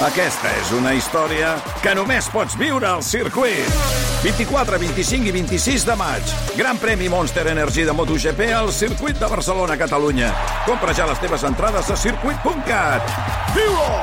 Aquesta és una història que només pots viure al circuit. 24, 25 i 26 de maig. Gran premi Monster Energy de MotoGP al circuit de Barcelona, Catalunya. Compra ja les teves entrades a circuit.cat. Viu-ho!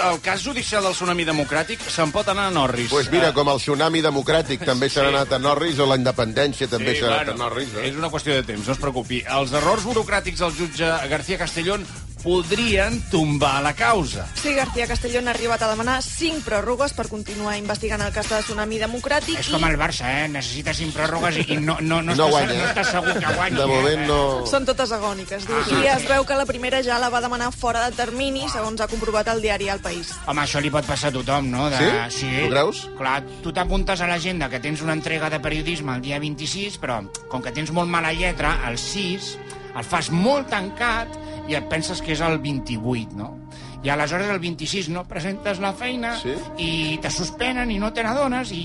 El cas judicial del tsunami democràtic se'n pot anar a Norris. Pues mira, com el tsunami democràtic també s'ha anat a Norris, o la independència també s'ha anat a Norris. Eh? És una qüestió de temps, no es preocupi. Els errors burocràtics del jutge García Castellón podrien tombar la causa. eh? Sí, García Castellón ha arribat a demanar cinc pròrrogues per continuar investigant el cas de Tsunami Democràtic És com el Barça, eh? Necessita cinc pròrrogues i no, no, no, No estàs- guanya. no estàs segur que guanyi. De moment no... i són totes agòniques. Ah, Diu. I es veu que la primera ja la va demanar fora de termini, segons ha comprovat el diari El País. Home, això li pot passar a tothom, no? Sí? Tu creus? Clar, tu t'apuntes a l'agenda que tens una entrega de periodisme el dia 26, però com que tens molt mala lletra, el 6 el fas molt tancat i et penses que és el 28, no? I aleshores el 26 no presentes la feina Sí? i te suspenen i no te n'adones i,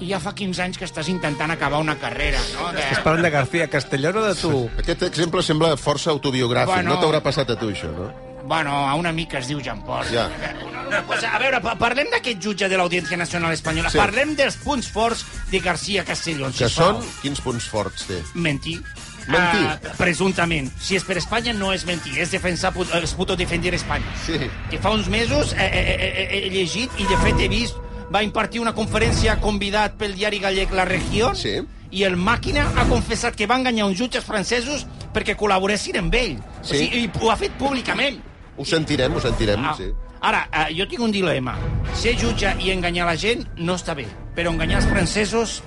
i ja fa 15 anys que estàs intentant acabar una carrera, no? De... Parlant de García Castellón o de tu? Aquest exemple sembla força autobiogràfic. Bueno. No t'haurà passat a tu, això, no? Bueno, a un amic que es diu Jean Paul. Ja. Una, una cosa, a veure, pa- parlem d'aquest jutge de l'Audiència Nacional Espanyola. Sí. Sí. Parlem dels punts forts de García Castellón. Que són... Quins punts forts té? Mentir. Mentir. Ah, presumptament. Si és per Espanya, no és mentir. És defensar, put- es puto defender Espanya. Sí. Que fa uns mesos eh, eh, eh, eh, he llegit i, de fet, he vist va impartir una conferència convidat pel diari gallec La Regió Sí. i el Màquina ha confessat que va enganyar uns jutges francesos perquè col·laboressin amb ell. Sí. O sigui, i ho ha fet públicament. Ho sentirem, ho sentirem, Ah, sí. Ara, eh, jo tinc un dilema. Ser jutge i enganyar la gent no està bé, però enganyar els francesos,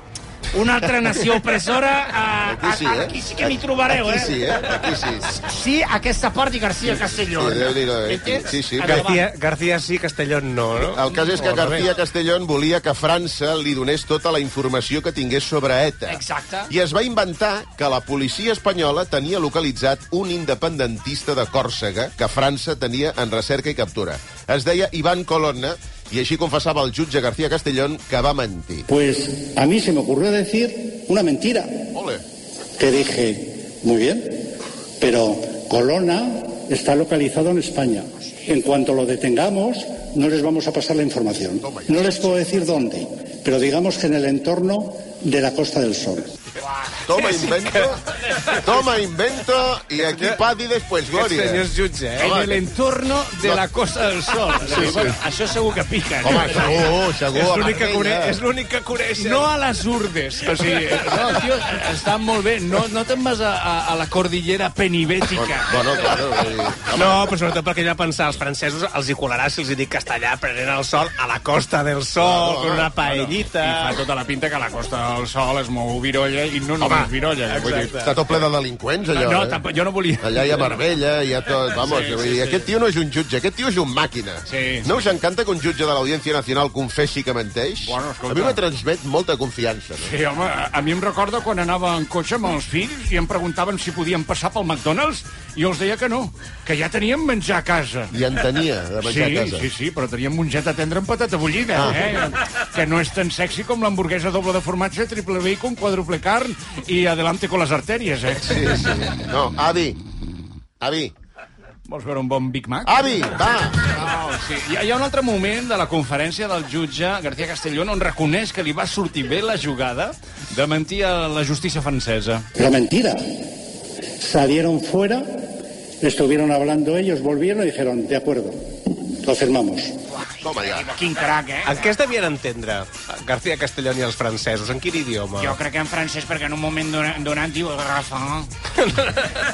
una altra nació opressora, eh, Aquí sí, eh? aquí sí que m'hi trobareu, Aquí eh? sí, eh? Aquí sí. Sí, aquesta part de García Castellón. Sí, Déu-n'hi-do, eh? Entens? Sí, sí. Ara, va. García, García sí, Castellón no, no? El cas és que O al García revés. Castellón volia que França li donés tota la informació que tingués sobre ETA. Exacte. I es va inventar que la policia espanyola tenia localitzat un independentista de Còrsega que França tenia en recerca i captura. Es deia Ivan Colonna i així confessava el jutge García Castellón que va mentir. Pues a mí se me ocurrió decir una mentira, Ole. que dije, muy bien, pero Colona está localizado en España. En cuanto lo detengamos, no les vamos a pasar la información. No les puedo decir dónde, pero digamos que en el entorno de la Costa del Sol. Toma invento, toma invento i aquí paz i després Aquest senyor glòria. és jutge, eh? Home, En el entorno de la Costa del Sol. Sí, sí. Això segur que pica. eh? Home, segur, segur. És a l'únic que, Marbella. coneix, és l'únic que coneix. No a les urdes. O sigui, no, tio, estan molt bé. No, no te'n vas a, a, a la cordillera penibètica. Bueno, claro, vull dir, No, però sobretot perquè ell va pensar, els francesos els hi colarà si els hi dic castellà prenent el sol a la costa del sol, con una paellita... I fa tota la pinta que a la Costa del Sol es mou virolla i no només virolla. eh, Vull dir, Està tot ple de delinqüents, allò, no, eh? tampoc, jo no volia... Allà hi ha Marbella, hi ha tot... Vamos, sí, vull dir, aquest tio no és un jutge, aquest tio és un màquina. Sí, no us encanta que un jutge de l'Audiència Nacional confessi que menteix? Bueno, escolta. a mi me transmet molta confiança. No? Sí, home, a- a mi em recorda quan anava en cotxe amb els fills i em preguntaven si podíem passar pel McDonald's i jo els deia que no, que ja teníem menjar a casa. I en tenia, de Sí, menjar a casa. sí, sí, però teníem mongeta tendra amb patata bullida, ah. eh? Que no és tan sexy com l'hamburguesa doble de formatge, triple bacon, quadruple carn i adelante con les artèries, eh? sí, sí. No, avi, avi, Vols veure un bon Big Mac? avi, va! Oh, sí. Hi ha, hi ha un altre moment de la conferència del jutge García Castellón on reconeix que li va sortir bé la jugada de mentir a la justícia francesa. Era mentira. Salieron fuera, estuvieron hablando ellos, volvieron y dijeron, de acuerdo, lo firmamos. Toma ja. Quin crac, eh? En què es devien entendre García Castellón i els francesos? En quin idioma? Jo crec que en francès, perquè en un moment donat, donat diu Rafa,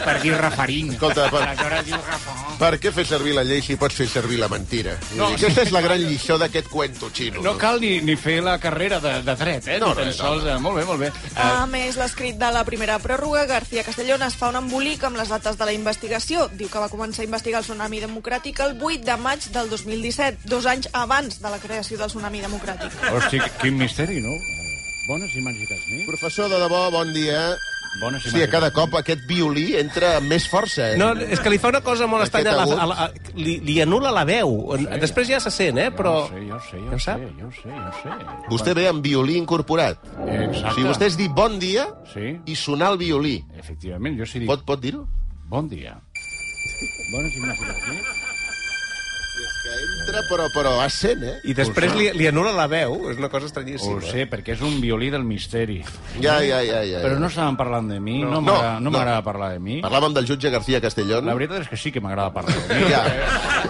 per dir Rafarín. Escolta, per- Aleshores diu Rafa. Per què fer servir la llei si pots fer servir la mentira? No. No. Aquesta és la gran lliçó d'aquest cuento xino. No cal ni, ni fer la carrera de, de dret, eh? No, No, ni tan res, sols... eh, Molt bé, molt bé. Ah. A més, l'escrit de la primera pròrroga, García Castellón es fa un embolic amb les dates de la investigació. Diu que va començar a investigar el tsunami democràtic el 8 de maig del 2017, dos anys abans de la creació del tsunami democràtic. Hosti, quin misteri, no? Bones i màgiques nits. Professor, de debò, bon dia. Bones i Hòstia, màgiques cada cop aquest violí entra amb més força, eh? No, és que li fa una cosa molt Aquest estranya. a agut. La, a la, a, li, li anula la veu. Després ja se sent, eh? Però... Jo ho sé, jo ho sé, jo ho Ja ho sé, sap? jo ho sé, jo ho sé. Vostè ve amb violí incorporat. Exacte. Si vostè es diu bon dia Sí. i sonar el violí, Efectivament, jo sí dic... pot, pot dir-ho? Bon dia. Bones i màgiques nits. És que Entra, però, però, a 100, eh? I després li, li anula la veu, és una cosa Ho estranyíssima. sé, perquè és un violí del misteri. Ja, ja, ja, ja. Però ja. no estaven parlant de mi, no, No, m'agrada- no no. m'agrada parlar de mi. Parlàvem del jutge García Castellón. La veritat és que sí que m'agrada parlar de mi. Ja.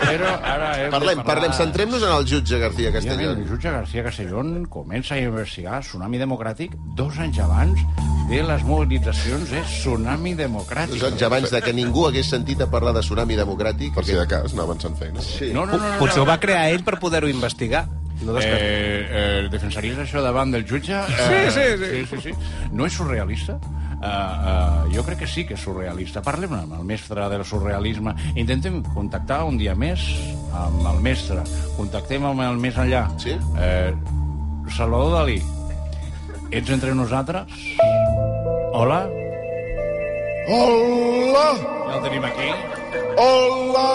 Però ara hem de Parlem, parlar- parlem, centrem-nos en el jutge García Efectivament, Castellón. El jutge García Castellón comença a investigar Tsunami Democràtic dos anys abans de les mobilitzacions de Tsunami Democràtic. Dos anys abans de que ningú hagués sentit a parlar de tsunami democràtic. Per si de cas, anaven sent feina. Sí. No, no, no, no, no. Potser ho va crear ell per poder-ho investigar. No Eh, descartem. eh, defensaries això davant del jutge? Eh, Sí, sí, sí. sí, sí, sí. No és surrealista? Uh, uh, jo crec que sí que és surrealista. Parlem amb el mestre del surrealisme. Intentem contactar un dia més amb el mestre. Contactem amb el més enllà. Sí. Eh, Salvador Dalí, ets entre nosaltres? Hola? Hola! Ja el tenim aquí. Hola!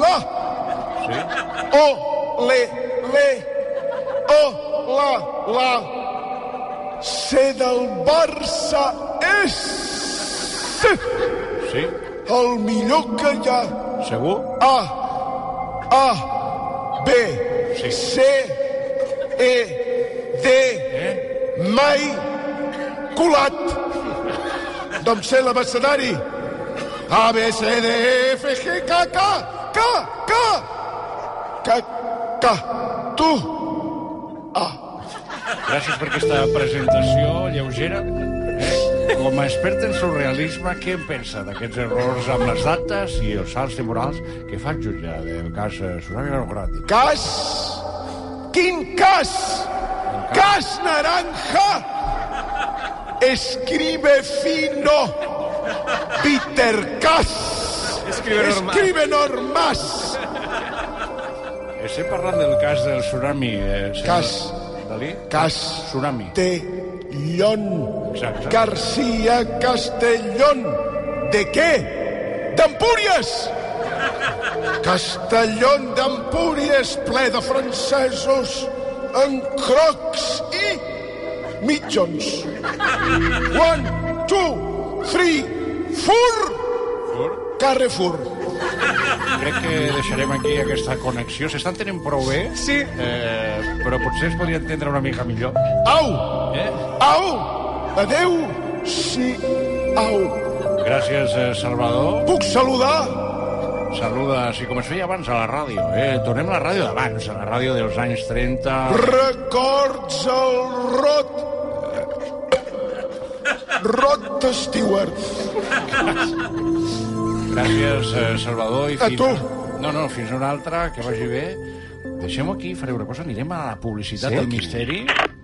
La! Sí? Ole! Le! Hola! La! Ser del Barça és Sí? el millor que hi ha. Segur? A, A, B, C, E, D, mai colat. Doncs sé l'abecedari. A, B, C, D, E, F, G, K, K, K, K, K, K, tu. Gràcies per aquesta presentació lleugera. Eh? Com a expert en surrealisme, què en pensa d'aquests errors amb les dates i els salts temporals que fa el jutge del cas eh, Tsunami Democràtic? Cas, quin cas? Cas naranja. Escribe fino. Peter Cas. Escribe normal. Escribe normás. Estem parlant del cas del tsunami, eh, senyor Cas. Dalí? Cas. Tsunami. De León. Exacte. García Castellón. ¿De qué? ¡D'Empúries! Castellón d'Empúries, ple de francesos en crocs i mitjons. One, two, three, four, Fur. Carrefour. Crec que deixarem aquí aquesta connexió. S'estan tenint prou bé, Sí. eh, però potser es podria entendre una mica millor. Au, Eh? au, adeu, sí, au. Gràcies, eh, Salvador. Puc saludar? Saluda, així com es feia abans a la ràdio. Eh? Tornem a la ràdio d'abans, a la ràdio dels anys 30... Records el Rot. Rot Stewart. Gràcies, eh, Salvador. I A tu. No, no, fins una altra, que vagi bé. Deixem-ho aquí, faré una cosa, anirem a la publicitat sí, del misteri.